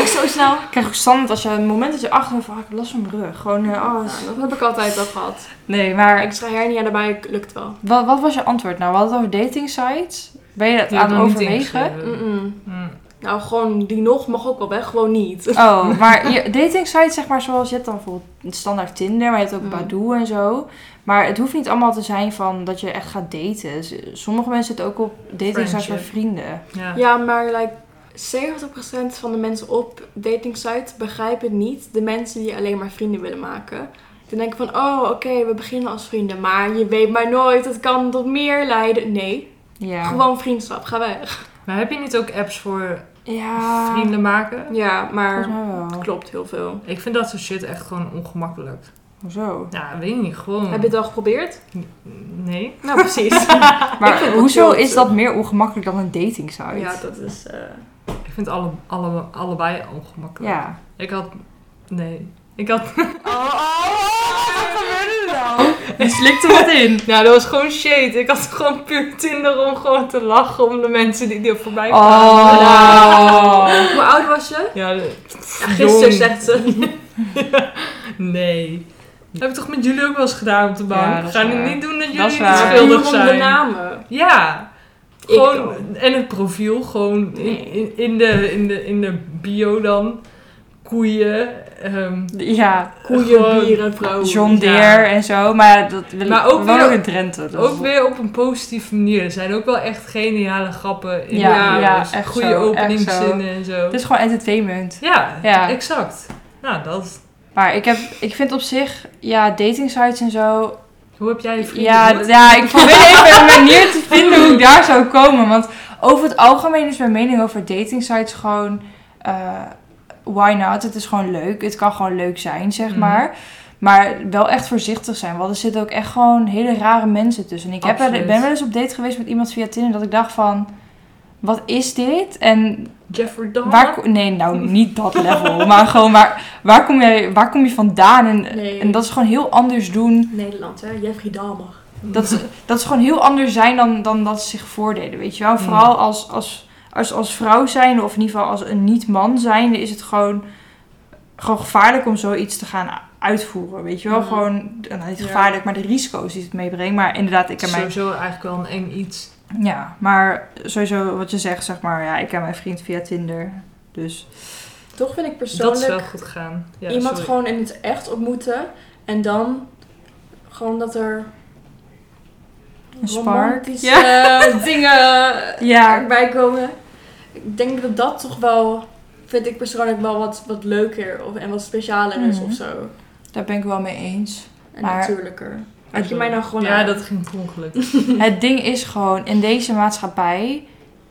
Speaker 1: ik zo snel.
Speaker 3: Ik krijg ook standaard als je het moment dat je achter bent van, ah, ik heb last van mijn rug. Gewoon, eh, oh,
Speaker 1: Nou, dat heb ik altijd al gehad.
Speaker 3: Nee, maar
Speaker 1: Extra hernia erbij lukt wel.
Speaker 3: wat, wat was je antwoord nou? We hadden het over dating sites. Ben je dat
Speaker 2: Die
Speaker 3: aan
Speaker 2: hebben
Speaker 3: het
Speaker 2: nog niet
Speaker 3: overwegen?
Speaker 2: ingeschreven.
Speaker 1: Mm-mm.
Speaker 2: Hm.
Speaker 1: Nou, gewoon die nog mag ook wel weg. Gewoon niet.
Speaker 3: Oh, maar je, dating sites zeg maar zoals je hebt dan bijvoorbeeld standaard Tinder, maar je hebt ook
Speaker 1: Mm.
Speaker 3: Badoo en zo. Maar het hoeft niet allemaal te zijn van dat je echt gaat daten. Dus, eh, Sommige mensen zitten ook op dating sites
Speaker 2: Friendship.
Speaker 3: met vrienden.
Speaker 2: Ja.
Speaker 1: Ja, maar like, 70% van de mensen op dating sites begrijpen niet de mensen die alleen maar vrienden willen maken. Die denken van, oh oké, we beginnen als vrienden, maar je weet maar nooit, het kan tot meer leiden. Nee,
Speaker 3: Ja.
Speaker 1: gewoon vriendschap, ga weg.
Speaker 2: Maar heb je niet ook apps voor
Speaker 3: Ja.
Speaker 2: vrienden maken?
Speaker 1: Ja, maar
Speaker 3: Volgens mij wel.
Speaker 1: klopt heel veel.
Speaker 2: Ik vind dat soort shit echt gewoon ongemakkelijk.
Speaker 3: Hoezo?
Speaker 2: Ja, weet je niet, gewoon...
Speaker 1: Heb je het al geprobeerd?
Speaker 2: Nee.
Speaker 1: Hm. Nou, precies.
Speaker 3: Maar
Speaker 1: het
Speaker 3: hoezo
Speaker 1: wel
Speaker 3: is
Speaker 1: zo.
Speaker 3: dat meer ongemakkelijk dan een dating site?
Speaker 1: ja, dat is... eh,
Speaker 2: Ik vind alle, alle, allebei ongemakkelijk.
Speaker 3: Ja.
Speaker 2: Ik had... Nee. Ik had...
Speaker 3: Oh, wat gebeurde er nou? Je slikte wat in.
Speaker 2: Nou, dat was gewoon shit. Ik had gewoon puur Tinder om gewoon te lachen om de mensen die, die er voorbij kwamen.
Speaker 3: Oh.
Speaker 1: Hoe oud was je?
Speaker 2: Ja, de-
Speaker 1: Ja, gisteren
Speaker 2: Jong.
Speaker 1: zegt ze.
Speaker 2: Nee. Dat heb ik toch met jullie ook wel eens gedaan op de bank?
Speaker 3: Ja, dat is
Speaker 2: Ga nu
Speaker 3: waar.
Speaker 2: niet doen dat jullie
Speaker 3: Dat is
Speaker 2: niet
Speaker 3: waar.
Speaker 2: schuldig
Speaker 1: Puur om de
Speaker 2: zijn.
Speaker 1: namen.
Speaker 2: Ja.
Speaker 1: Ik
Speaker 2: Gewoon,
Speaker 1: dan.
Speaker 2: en het profiel, gewoon in,
Speaker 1: Nee.
Speaker 2: in, in de, in, de, in de bio dan. Koeien. ehm,
Speaker 3: Ja,
Speaker 1: Koeien,
Speaker 2: Gewoon-
Speaker 1: bieren, vrouwen.
Speaker 3: John
Speaker 2: Oh, ja.
Speaker 3: Deere en zo. Maar ja, dat wil
Speaker 2: Maar
Speaker 3: ik
Speaker 2: ook
Speaker 3: we wonen
Speaker 2: weer-
Speaker 3: ook in Drenthe. dus-
Speaker 2: ook weer op een positieve manier. Er zijn ook wel echt geniale grappen in
Speaker 3: Ja,
Speaker 2: de
Speaker 3: ja,
Speaker 2: video's.
Speaker 3: echt
Speaker 2: Goede
Speaker 3: zo, echt
Speaker 2: openingszinnen en zo.
Speaker 3: Het is gewoon entertainment.
Speaker 2: ja,
Speaker 3: Ja.
Speaker 2: exact. Nou, dat...
Speaker 3: Maar ik, heb, ik vind op zich, ja, dating sites en zo.
Speaker 2: Hoe heb jij je vrienden
Speaker 3: Ja, d-
Speaker 2: ontmoet?
Speaker 3: ja, ik probeer even een manier te vinden hoe ik daar zou komen. Want over het algemeen is mijn mening over dating sites gewoon. eh, why not? Het is gewoon leuk. Het kan gewoon leuk zijn, zeg
Speaker 2: Mhm.
Speaker 3: maar. Maar wel echt voorzichtig zijn. Want er zitten ook echt gewoon hele rare mensen tussen. En ik heb, wel- ik
Speaker 2: Absoluut.
Speaker 3: ben wel eens op date geweest met iemand via Tinder. Dat ik dacht van. Wat is dit? En
Speaker 2: Jeffrey Dahmer?
Speaker 3: Waar, ko- nee, nou niet dat level. maar gewoon, waar, waar, kom jij, waar kom je vandaan? En,
Speaker 1: Nee.
Speaker 3: en dat is gewoon heel anders doen.
Speaker 1: Nederland, hè? Jeffrey Dahmer.
Speaker 3: Dat, is- dat is gewoon heel anders zijn dan, dan dat ze zich voordeden, weet je wel. Vooral als, als, als, als vrouw zijnde, of in ieder geval als een niet-man zijnde, is het gewoon, gewoon gevaarlijk om zoiets te gaan uitvoeren, weet je wel.
Speaker 1: Mhm.
Speaker 3: Gewoon, nou, niet
Speaker 1: Ja.
Speaker 3: gevaarlijk, maar de risico's die het meebrengt. Maar inderdaad, ik
Speaker 2: Het
Speaker 3: heb
Speaker 2: is
Speaker 3: mijn...
Speaker 2: sowieso eigenlijk wel een eng iets.
Speaker 3: Ja, maar sowieso wat je zegt, zeg maar, ja, ik heb mijn vriend via Tinder, dus...
Speaker 1: Toch vind ik
Speaker 2: Dat is wel
Speaker 1: persoonlijk
Speaker 2: goed gegaan. Ja,
Speaker 1: iemand
Speaker 2: sorry.
Speaker 1: gewoon in het echt ontmoeten en dan gewoon dat er
Speaker 3: Een spark.
Speaker 1: romantische dingen
Speaker 3: Ja.
Speaker 1: erbij komen. Ik denk dat dat toch wel, vind ik persoonlijk wel wat, wat leuker of, en wat specialer is
Speaker 3: Mhm.
Speaker 1: of zo.
Speaker 3: Daar ben ik wel mee eens.
Speaker 1: En
Speaker 3: Maar-
Speaker 1: natuurlijker. Had je mij nou gewoon
Speaker 2: Ja,
Speaker 1: aan?
Speaker 2: dat ging per ongeluk.
Speaker 3: Het ding is gewoon, in deze maatschappij,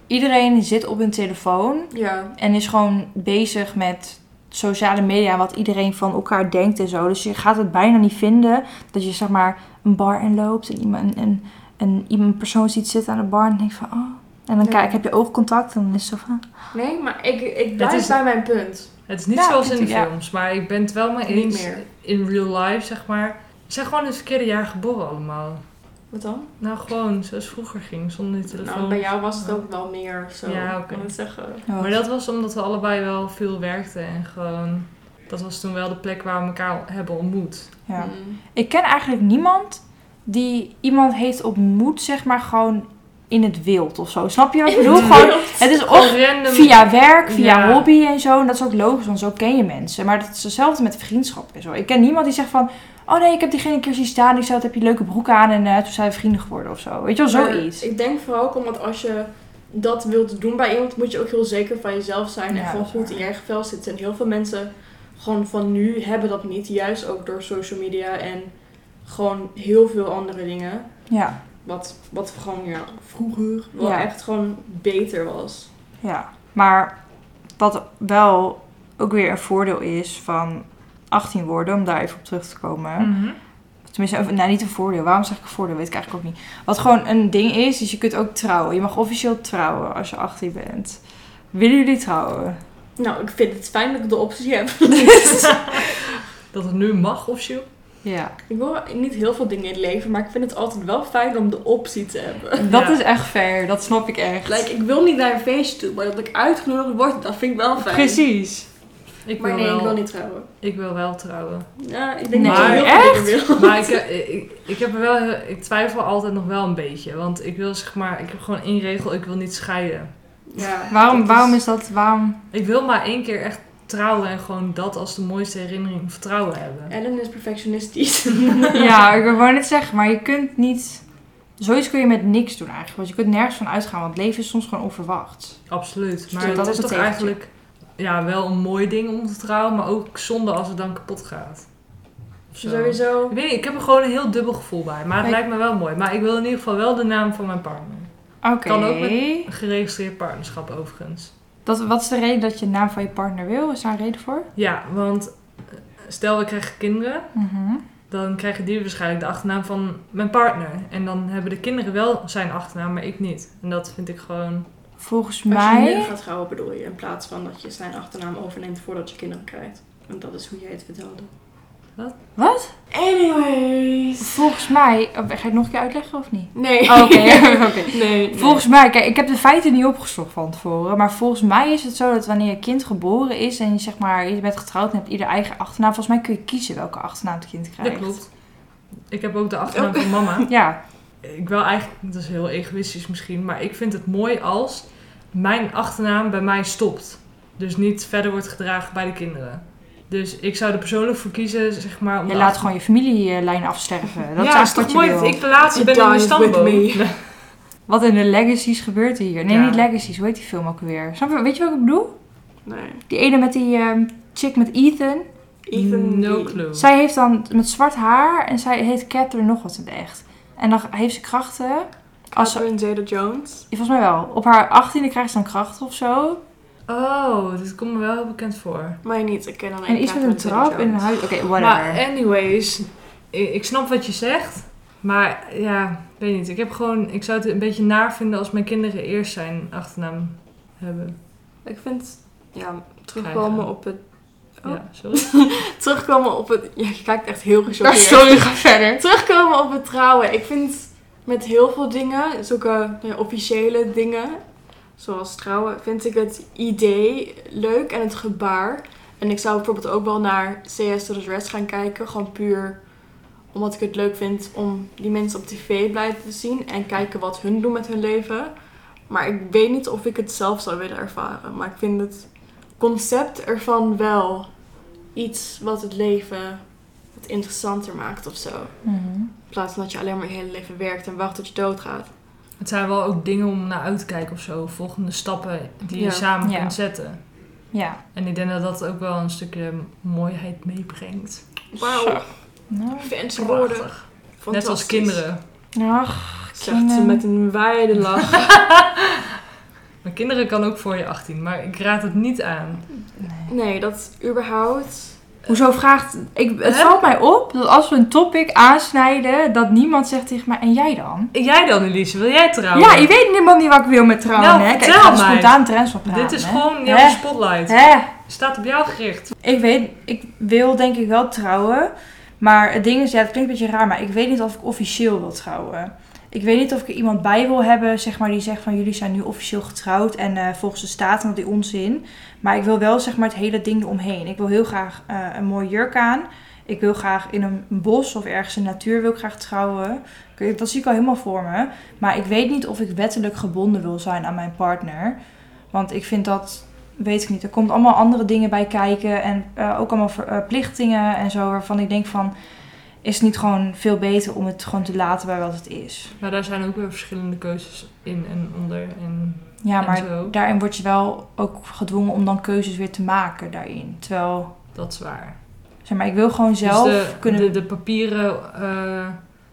Speaker 3: iedereen zit op hun telefoon
Speaker 1: Ja.
Speaker 3: en is gewoon bezig met sociale media, wat iedereen van elkaar denkt en zo. Dus je gaat het bijna niet vinden dat je zeg maar een bar in loopt en iemand, en, en iemand een persoon ziet zitten aan de bar en denkt van, oh. En dan
Speaker 1: Ja.
Speaker 3: kijk, heb je oogcontact en dan is het zo van...
Speaker 1: Nee, maar ik, ik
Speaker 2: Het
Speaker 1: blijf
Speaker 2: is-
Speaker 1: bij mijn punt.
Speaker 2: Het is niet
Speaker 3: Ja,
Speaker 2: zoals in de
Speaker 3: ik- ja.
Speaker 2: films, maar ik ben het wel mee
Speaker 1: Niet
Speaker 2: eens
Speaker 1: meer.
Speaker 2: in real life, zeg maar. Ze zijn gewoon in het verkeerde jaar geboren allemaal.
Speaker 1: Wat dan?
Speaker 2: Nou, gewoon zoals vroeger ging, zonder die telefoon.
Speaker 1: Nou, bij jou was het ook wel meer zo.
Speaker 2: Ja, oké.
Speaker 1: Ik moet zeggen.
Speaker 3: Ja,
Speaker 2: Maar dat was omdat we allebei wel veel werkten en gewoon... Dat was toen wel de plek waar we elkaar hebben ontmoet.
Speaker 3: ja.
Speaker 1: Mm.
Speaker 3: Ik ken eigenlijk niemand die iemand heeft ontmoet, zeg maar gewoon in het wild of zo. Snap je wat ik bedoel? Gewoon, het is of
Speaker 2: Gewoon random.
Speaker 3: via werk, via
Speaker 2: Ja.
Speaker 3: hobby en zo. En dat is ook logisch, want zo ken je mensen. Maar dat is hetzelfde met vriendschap en zo. Ik ken niemand die zegt van... Oh nee, ik heb diegene een keer zien staan. Ik zei, wat heb je een leuke broek aan? En eh, toen zijn we vrienden geworden of zo. Weet je wel,
Speaker 1: Maar
Speaker 3: zoiets.
Speaker 1: Ik denk vooral ook omdat als je dat wilt doen bij iemand, moet je ook heel zeker van jezelf zijn
Speaker 3: Ja,
Speaker 1: en gewoon
Speaker 3: dat is
Speaker 1: goed in
Speaker 3: waar.
Speaker 1: je eigen vel zitten. En heel veel mensen gewoon van nu hebben dat niet, juist ook door social media en gewoon heel veel andere dingen.
Speaker 3: Ja,
Speaker 1: Wat, wat gewoon ja, vroeger wel
Speaker 3: Ja.
Speaker 1: echt gewoon beter was.
Speaker 3: ja. Maar wat wel ook weer een voordeel is van 18 worden... om daar even op terug te komen...
Speaker 2: Mhm.
Speaker 3: Tenminste, of- nou niet een voordeel. Waarom zeg ik een voordeel? Weet ik eigenlijk ook niet. Wat gewoon een ding is, is je kunt ook trouwen. Je mag officieel trouwen als je 18 bent. Willen jullie trouwen?
Speaker 1: Nou, ik vind het fijn dat ik de optie heb.
Speaker 2: Dat het nu mag of zo.
Speaker 3: Ja.
Speaker 1: ik wil niet heel veel dingen in het leven, maar ik vind het altijd wel fijn om de optie te hebben.
Speaker 3: Dat
Speaker 2: Ja.
Speaker 3: is echt fair. Dat snap ik echt.
Speaker 1: Like, ik wil niet naar een feestje toe, maar dat ik uitgenodigd word, dat vind ik wel fijn.
Speaker 3: Precies.
Speaker 2: Ik
Speaker 1: Maar
Speaker 2: wil
Speaker 1: nee,
Speaker 2: wel,
Speaker 1: ik wil niet trouwen.
Speaker 2: ik wil wel trouwen.
Speaker 1: Ja, ik denk
Speaker 3: Nee,
Speaker 1: dat je heel veel dingen wil.
Speaker 2: Maar ik, eh, ik, ik heb er wel, heel- ik twijfel altijd nog wel een beetje. Want ik wil zeg maar, ik heb gewoon één regel, ik wil niet scheiden.
Speaker 1: Ja,
Speaker 3: Waarom
Speaker 1: dat
Speaker 3: is, waarom is dat? Waarom?
Speaker 2: Ik wil maar één keer echt trouwen en gewoon dat als de mooiste herinnering of trouwen hebben.
Speaker 1: Ellen is perfectionistisch.
Speaker 3: ja, ik wil gewoon net zeggen, maar je kunt niet. Zoiets kun je met niks doen eigenlijk. Want je kunt nergens van uitgaan, want het leven is soms gewoon onverwacht.
Speaker 2: Absoluut. Maar
Speaker 3: dat
Speaker 2: dat
Speaker 3: is
Speaker 2: is toch
Speaker 3: een tegeltje.
Speaker 2: eigenlijk ja, wel een mooi ding om te trouwen, maar ook zonde als het dan kapot gaat. Of zo.
Speaker 1: Sowieso.
Speaker 2: Ik weet niet, ik heb er gewoon een heel dubbel gevoel bij. Maar het
Speaker 3: Maar-
Speaker 2: lijkt me wel mooi. Maar ik wil in ieder geval wel de naam van mijn partner.
Speaker 3: Oké.
Speaker 2: Kan ook Een geregistreerd partnerschap overigens.
Speaker 3: Dat, wat is de reden dat je de naam van je partner wil? Is daar een reden voor?
Speaker 2: Ja, want eh, stel we krijgen kinderen,
Speaker 3: Mhm.
Speaker 2: dan krijgen die waarschijnlijk de achternaam van mijn partner. En dan hebben de kinderen wel zijn achternaam, maar ik niet. En dat vind ik gewoon...
Speaker 3: Volgens
Speaker 1: Als je
Speaker 3: mij.
Speaker 1: nu gaat trouwen bedoel je, in plaats van dat je zijn achternaam overneemt voordat je kinderen krijgt. Want dat is hoe jij het vertelde.
Speaker 3: Wat?
Speaker 1: Anyways.
Speaker 3: Volgens mij. oh, Ga je het nog een keer uitleggen of niet?
Speaker 1: Nee.
Speaker 3: Oh, Oké, oké.
Speaker 1: Nee.
Speaker 3: Volgens mij, kijk, ik heb de feiten niet opgezocht van tevoren. Maar volgens mij is het zo dat wanneer je kind geboren is en je, zeg maar, je bent getrouwd en hebt ieder eigen achternaam. Volgens mij kun je kiezen welke achternaam het kind krijgt.
Speaker 2: Dat klopt. Ik heb ook de achternaam van mama.
Speaker 3: Ja,
Speaker 2: Ik wil eigenlijk... Dat is heel egoïstisch misschien, maar ik vind het mooi als mijn achternaam bij mij stopt. Dus niet verder wordt gedragen bij de kinderen. Dus ik zou er persoonlijk voor kiezen, zeg maar... om
Speaker 3: je
Speaker 2: de
Speaker 3: laat gewoon je familielijn afsterven. Dat
Speaker 2: ja,
Speaker 3: is eigenlijk
Speaker 2: is toch
Speaker 3: wat je
Speaker 2: mooi
Speaker 3: wil.
Speaker 2: dat ik de laatste
Speaker 1: It
Speaker 2: ben in mijn
Speaker 1: dies with
Speaker 2: stamboom.
Speaker 1: me.
Speaker 3: Wat in de legacies gebeurt hier. Nee,
Speaker 2: Ja.
Speaker 3: niet legacies. Hoe heet die film ook weer? Snap je, weet je wat ik bedoel?
Speaker 1: Nee.
Speaker 3: Die ene met die ehm, chick met Ethan.
Speaker 1: Even
Speaker 2: no
Speaker 1: die-
Speaker 2: clue.
Speaker 3: Zij heeft dan met zwart haar en zij heet Catherine nog wat in het echt. En dan heeft ze krachten. Als ze,
Speaker 1: Catherine Zeta-Jones.
Speaker 3: volgens mij wel. Op haar achttiende krijgt ze dan krachten of zo.
Speaker 2: Oh, dit komt me wel heel bekend voor.
Speaker 1: Maar niet, ik ken alleen
Speaker 3: En iets met een
Speaker 1: Catherine
Speaker 3: trap in een
Speaker 1: Zeta-Jones.
Speaker 3: huis. Oké,
Speaker 2: Maar eh,
Speaker 3: whatever.
Speaker 2: anyways, i- ik snap wat je zegt. Maar ja, ik weet niet. Ik, heb gewoon, ik zou het een beetje naar vinden als mijn kinderen eerst zijn achternaam hebben.
Speaker 1: Ik vind, ja, terugkomen
Speaker 2: Krijgen.
Speaker 1: op het... Oh.
Speaker 2: Ja, sorry.
Speaker 1: Terugkomen op het... Ja, je kijkt echt heel
Speaker 3: Ja,
Speaker 1: gechoqueerd.
Speaker 3: sorry, ga verder.
Speaker 1: terugkomen op het trouwen. Ik vind met heel veel dingen, zulke nou ja, officiële dingen, zoals trouwen, vind ik het idee leuk en het gebaar. En ik zou bijvoorbeeld ook wel naar CS to the Rest gaan kijken, gewoon puur omdat ik het leuk vind om die mensen op tv blijven te zien en kijken wat hun doen met hun leven. Maar ik weet niet of ik het zelf zou willen ervaren. Maar ik vind het concept ervan wel iets wat het leven wat interessanter maakt of zo.
Speaker 3: Mhm.
Speaker 1: In plaats van dat je alleen maar je hele leven werkt en wacht tot je doodgaat.
Speaker 2: Het zijn wel ook dingen om naar uit te kijken of zo. Volgende stappen die je
Speaker 1: Ja.
Speaker 2: samen
Speaker 3: Ja.
Speaker 2: kunt zetten.
Speaker 3: Ja.
Speaker 2: En ik denk dat dat ook wel een stukje mooiheid meebrengt.
Speaker 1: Wauw,
Speaker 3: Nou.
Speaker 1: fancy woorden.
Speaker 2: Prachtig. Net als
Speaker 1: Fantastisch.
Speaker 2: kinderen.
Speaker 3: Ach,
Speaker 1: Zegt ze met een wijde lach.
Speaker 2: Mijn kinderen kan ook voor je 18, maar ik raad het niet aan.
Speaker 1: Nee, dat überhaupt.
Speaker 3: Hoezo vraagt... Ik, het
Speaker 2: Hè?
Speaker 3: valt mij op dat als we een topic aansnijden, dat niemand zegt tegen mij, en jij dan?
Speaker 2: En Jij dan, Elise? Wil jij trouwen?
Speaker 3: Ja, je weet helemaal niet wat ik wil met trouwen,
Speaker 2: eh. Nou,
Speaker 3: hè? Kijk, ik
Speaker 2: vertel
Speaker 3: ga er
Speaker 2: mij.
Speaker 3: spontaan trends van praten,
Speaker 2: Dit is
Speaker 3: hè?
Speaker 2: gewoon
Speaker 3: Hè?
Speaker 2: jouw spotlight.
Speaker 3: Hè?
Speaker 2: Staat op jou gericht.
Speaker 3: Ik weet, ik wil denk ik wel trouwen. Maar het ding is, ja, het klinkt een beetje raar, maar ik weet niet of ik officieel wil trouwen. Ik weet niet of ik er iemand bij wil hebben, zeg maar, die zegt van jullie zijn nu officieel getrouwd en eh, volgens de staat en dat die onzin. Maar ik wil wel, zeg maar, het hele ding eromheen. Ik wil heel graag eh, een mooi jurk aan. Ik wil graag in een bos of ergens in de natuur wil ik graag trouwen. Ik- Dat zie ik al helemaal voor me. Maar ik weet niet of ik wettelijk gebonden wil zijn aan mijn partner. Want ik vind dat, weet ik niet, er komt allemaal andere dingen bij kijken. En eh, ook allemaal ver- eh, verplichtingen en zo, waarvan ik denk van... Is het niet gewoon veel beter om het gewoon te laten bij wat het is?
Speaker 2: Maar daar zijn ook weer verschillende keuzes in en onder. En,
Speaker 3: Ja,
Speaker 2: en
Speaker 3: maar
Speaker 2: zo.
Speaker 3: daarin word je wel ook gedwongen om dan keuzes weer te maken daarin. Terwijl,
Speaker 2: Dat is waar.
Speaker 3: zeg maar, ik wil gewoon zelf
Speaker 2: dus de,
Speaker 3: kunnen...
Speaker 2: de, de papieren eh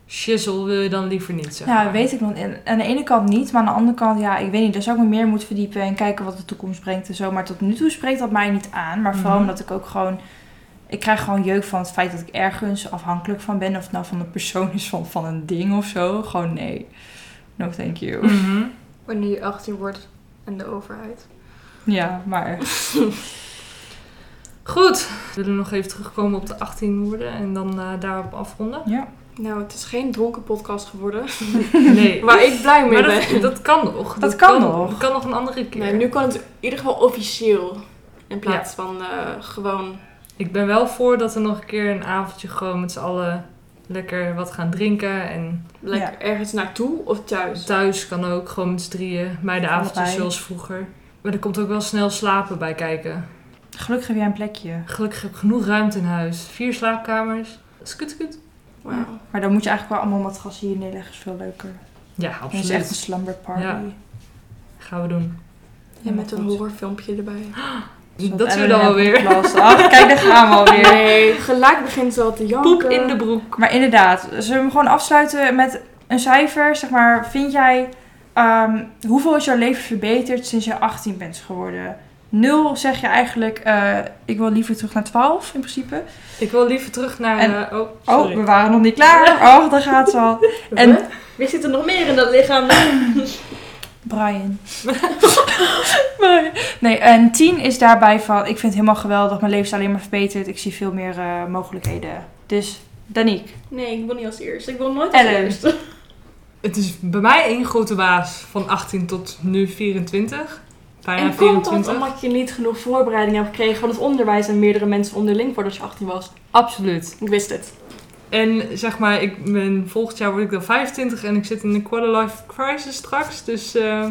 Speaker 2: shizzle wil je dan liever niet, zeg
Speaker 3: Ja,
Speaker 2: maar.
Speaker 3: Nou, weet ik nog. En Aan de ene kant niet, maar aan de andere kant, ja, ik weet niet. Daar zou ik me meer in moeten verdiepen en kijken wat de toekomst brengt en zo. Maar tot nu toe spreekt dat mij niet aan. Maar vooral
Speaker 2: Mhm.
Speaker 3: omdat ik ook gewoon. Ik krijg gewoon jeuk van het feit dat ik ergens afhankelijk van ben. Of het nou van een persoon is, van, van een ding of zo. Gewoon nee. No, thank you.
Speaker 2: Mhm.
Speaker 1: Wanneer je 18 wordt en de overheid.
Speaker 3: Ja, maar.
Speaker 2: Goed. We willen nog even terugkomen op de 18 woorden en dan eh, daarop afronden.
Speaker 3: Ja.
Speaker 1: Nou, het is geen dronken podcast geworden.
Speaker 2: Nee.
Speaker 1: Waar ik blij mee
Speaker 2: Maar
Speaker 1: ben.
Speaker 2: dat, dat kan nog.
Speaker 3: Dat kan nog.
Speaker 2: Dat kan nog een andere keer.
Speaker 1: Nee, nu kan het in ieder geval officieel. In plaats van eh, gewoon.
Speaker 2: Ik ben wel voor dat we nog een keer een avondje gewoon met z'n allen lekker wat gaan drinken. En
Speaker 1: Lekker ergens naartoe of thuis.
Speaker 2: thuis kan ook gewoon met z'n drieën. Meidenavondjes
Speaker 3: Allebei.
Speaker 2: zoals vroeger. Maar er komt ook wel snel slapen bij kijken.
Speaker 3: Gelukkig heb jij een plekje.
Speaker 2: Gelukkig heb ik genoeg ruimte in huis. Vier slaapkamers. Skut, skut.
Speaker 1: Wauw.
Speaker 3: Maar dan moet je eigenlijk wel allemaal matrassen hier neerleggen. is veel leuker.
Speaker 2: Ja,
Speaker 3: Het is echt een
Speaker 2: absoluut.
Speaker 3: slumber party.
Speaker 2: Ja. Gaan we doen.
Speaker 1: En met een
Speaker 3: goed.
Speaker 1: horrorfilmpje erbij.
Speaker 3: Een soort
Speaker 2: Dat zien we dan
Speaker 3: M&M
Speaker 2: alweer.
Speaker 3: podcast. Ach, kijk, daar gaan we alweer.
Speaker 1: Nee, gelijk begint ze al te janken.
Speaker 2: Poep in de broek.
Speaker 3: Maar inderdaad, zullen we hem gewoon afsluiten met een cijfer? Zeg maar, vind jij... ehm, hoeveel is jouw leven verbeterd sinds je 18 bent geworden? Nul zeg je eigenlijk, eh, ik wil liever terug naar 12 in principe.
Speaker 2: Ik wil liever terug naar...
Speaker 3: En-
Speaker 2: eh, oh,
Speaker 3: Oh,
Speaker 2: sorry.
Speaker 3: we waren nog niet klaar. Oh, daar gaat ze al. En-
Speaker 1: Wie zit er nog meer in dat lichaam?
Speaker 3: Brian. Brian. nee, en 10 is daarbij van, ik vind het helemaal geweldig. Mijn leven is alleen maar verbeterd. Ik zie veel meer eh, mogelijkheden. Dus, Danique.
Speaker 1: Nee, ik wil niet als eerste. Ik wil nooit als
Speaker 3: als Ellen.
Speaker 1: eerste.
Speaker 2: Het is bij mij één grote baas van 18 tot nu 24. Bijna
Speaker 1: En komt dat
Speaker 2: 24.
Speaker 1: omdat je niet genoeg voorbereiding hebt gekregen van het onderwijs en meerdere mensen onderling voordat je 18 was?
Speaker 2: Absoluut.
Speaker 1: Ik wist het.
Speaker 2: En zeg maar, ik ben, volgend jaar word ik dan 25 en ik zit in de quarter life crisis straks. Dus eh,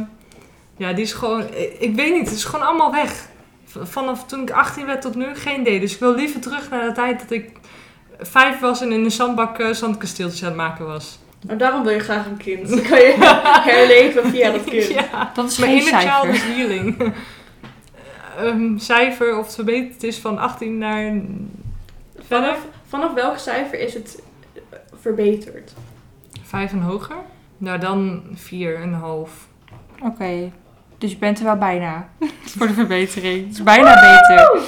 Speaker 2: ja, die is gewoon, ik, ik weet niet, het is gewoon allemaal weg. V- vanaf toen ik 18 werd tot nu geen idee. Dus ik wil liever terug naar de tijd dat ik vijf was en in een zandbak eh, zandkasteeltjes aan het maken was.
Speaker 1: Maar Nou, daarom wil je graag een kind. Dan kan je herleven via dat kind.
Speaker 2: Ja,
Speaker 3: Dat is
Speaker 2: mijn
Speaker 3: geen
Speaker 2: inner child
Speaker 3: cijfer.
Speaker 2: Ah, is healing. Ehm, cijfer of het verbeterd is van 18 naar... Verder?
Speaker 1: Vanaf, vanaf welk cijfer is het eh, verbeterd?
Speaker 2: Vijf en hoger? Nou, dan vier en een half.
Speaker 3: Oké, dus je bent er wel bijna. Voor de verbetering. Het is bijna beter.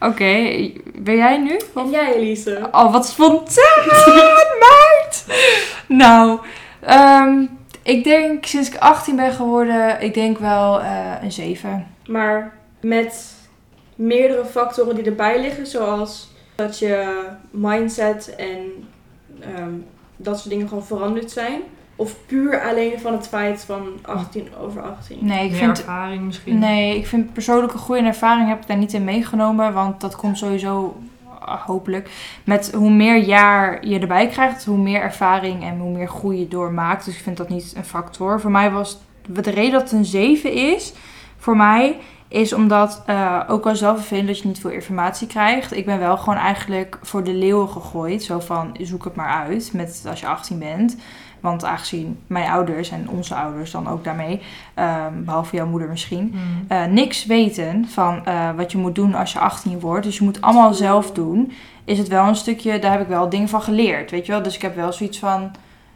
Speaker 3: Oké, ben jij nu?
Speaker 1: En jij, Elise?
Speaker 3: Oh, wat spontaan, meid! Nou, ehm, ik denk sinds ik 18 ben geworden, ik denk wel eh, een 7.
Speaker 1: Maar met meerdere factoren die erbij liggen, zoals dat je mindset en ehm, dat soort dingen gewoon veranderd zijn. Of puur alleen van het feit van 18 over 18.
Speaker 3: Nee, ik
Speaker 2: Meer
Speaker 3: vind
Speaker 2: ervaring misschien.
Speaker 3: Nee, ik vind persoonlijke groei en ervaring heb ik daar niet in meegenomen. Want dat komt sowieso, ah, hopelijk, met hoe meer jaar je erbij krijgt, hoe meer ervaring en hoe meer groei je doormaakt. Dus ik vind dat niet een factor. Voor mij was de reden dat het een 7 is, voor mij is omdat, eh, ook al zelf vervelend dat je niet veel informatie krijgt, ik ben wel gewoon eigenlijk voor de leeuwen gegooid. Zo van, zoek het maar uit met, als je 18 bent. Want aangezien mijn ouders en onze ouders dan ook daarmee, eh, behalve jouw moeder misschien,
Speaker 2: Mm.
Speaker 3: eh, niks weten van eh, wat je moet doen als je 18 wordt. Dus je moet allemaal zelf doen. Is het wel een stukje, daar heb ik wel dingen van geleerd. Weet je wel? Dus ik heb wel zoiets van.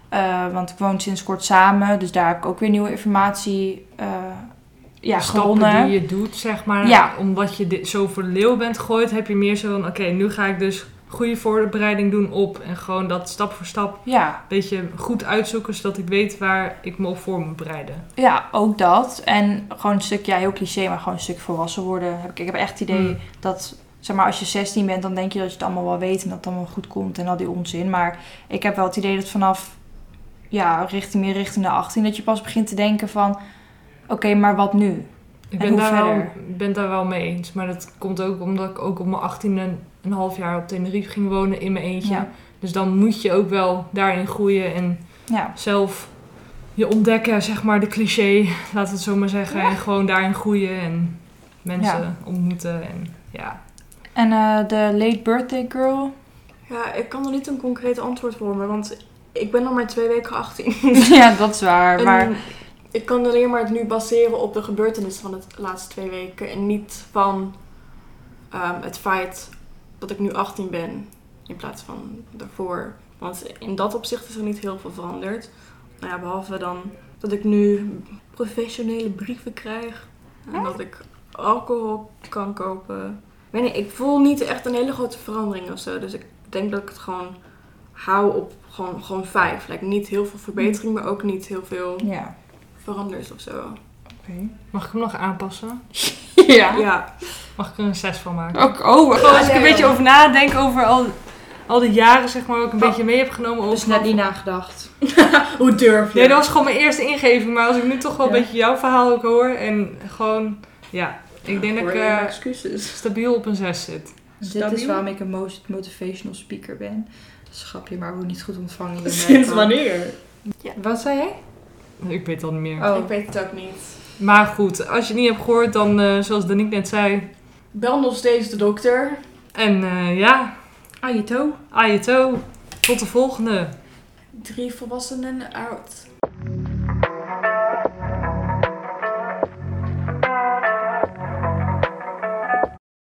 Speaker 3: eh, want ik woon sinds kort samen, dus daar heb ik ook weer nieuwe informatie eh ja,
Speaker 2: De stappen
Speaker 3: gewonnen.
Speaker 2: die je doet, zeg maar.
Speaker 3: Ja.
Speaker 2: Omdat je dit, zo voor de leeuw bent gegooid, heb je meer zo van... Oké, nu ga ik dus goede voorbereiding doen op. En gewoon dat stap voor stap
Speaker 3: Ja,
Speaker 2: een beetje goed uitzoeken, zodat ik weet waar ik me op voor moet bereiden.
Speaker 3: ja, ook dat. En gewoon een stuk, ja, heel cliché, maar gewoon een stuk volwassen worden. Heb Ik, ik heb echt het idee
Speaker 2: Hmm.
Speaker 3: dat, zeg maar, als je 16 bent, dan denk je dat je het allemaal wel weet en dat het allemaal goed komt en al die onzin. Maar ik heb wel het idee dat vanaf, ja, richting, meer richting de 18, dat je pas begint te denken van, oké, maar wat nu?
Speaker 2: Ik
Speaker 3: hoe
Speaker 2: ben daar, wel,
Speaker 3: verder?
Speaker 2: ben daar wel mee eens. Maar dat komt ook omdat ik ook op mijn 18 een half jaar op Tenerife ging wonen in mijn eentje.
Speaker 3: Ja.
Speaker 2: Dus dan moet je ook wel daarin groeien en
Speaker 3: Ja.
Speaker 2: zelf je ontdekken, zeg maar, de cliché, laten we het zo maar zeggen. En gewoon daarin groeien en mensen ontmoeten. En, ja.
Speaker 3: En eh, de late birthday girl?
Speaker 1: Ja, ik kan er niet een concreet antwoord voor me, want ik ben nog maar twee weken 18.
Speaker 3: ja, dat is waar.
Speaker 1: En
Speaker 3: Maar
Speaker 1: ik kan alleen maar het nu baseren op de gebeurtenissen van de laatste twee weken en niet van ehm, het feit dat ik nu 18 ben in plaats van daarvoor. Want in dat opzicht is er niet heel veel veranderd. Nou ja, behalve dan dat ik nu professionele brieven krijg en
Speaker 3: Ah.
Speaker 1: dat ik alcohol kan kopen. Ik weet niet, ik voel niet echt een hele grote verandering of zo. Dus ik denk dat ik het gewoon hou op gewoon, gewoon vijf. Like, niet heel veel verbetering, maar ook niet heel veel
Speaker 3: ja,
Speaker 1: veranderd of zo.
Speaker 3: oké.
Speaker 2: Mag ik hem nog aanpassen?
Speaker 3: Ja.
Speaker 1: Ja.
Speaker 2: Mag ik er een 6 van maken?
Speaker 3: Ook, oh, als ik een beetje over nadenk over al...
Speaker 2: Al die jaren, zeg maar, ook
Speaker 3: Oh.
Speaker 2: een beetje mee heb genomen. over-
Speaker 3: Dus nagedacht.
Speaker 1: Hoe durf
Speaker 2: Nee, dat was gewoon mijn eerste ingeving. Maar als ik nu toch wel
Speaker 3: Ja.
Speaker 2: een beetje jouw verhaal ook hoor. En gewoon, ja. Ik denk dat ik eh,
Speaker 1: excuses.
Speaker 2: stabiel op een 6 zit.
Speaker 3: Dit
Speaker 1: Stabiel.
Speaker 3: Dus is waarom ik een mo- motivational speaker ben. Dat is een grapje, maar we niet goed ontvangen. hier, merk ik.
Speaker 1: wanneer?
Speaker 3: Wat zei jij?
Speaker 2: Ik weet dat niet meer.
Speaker 3: Oh.
Speaker 1: Ik weet het ook niet.
Speaker 2: Maar goed, als je het niet hebt gehoord, dan eh, zoals Danique net zei.
Speaker 1: Bel nog steeds de dokter.
Speaker 2: En eh, ja,
Speaker 3: Ayito.
Speaker 2: Ajeto. Tot de volgende.
Speaker 1: Drie volwassenen out.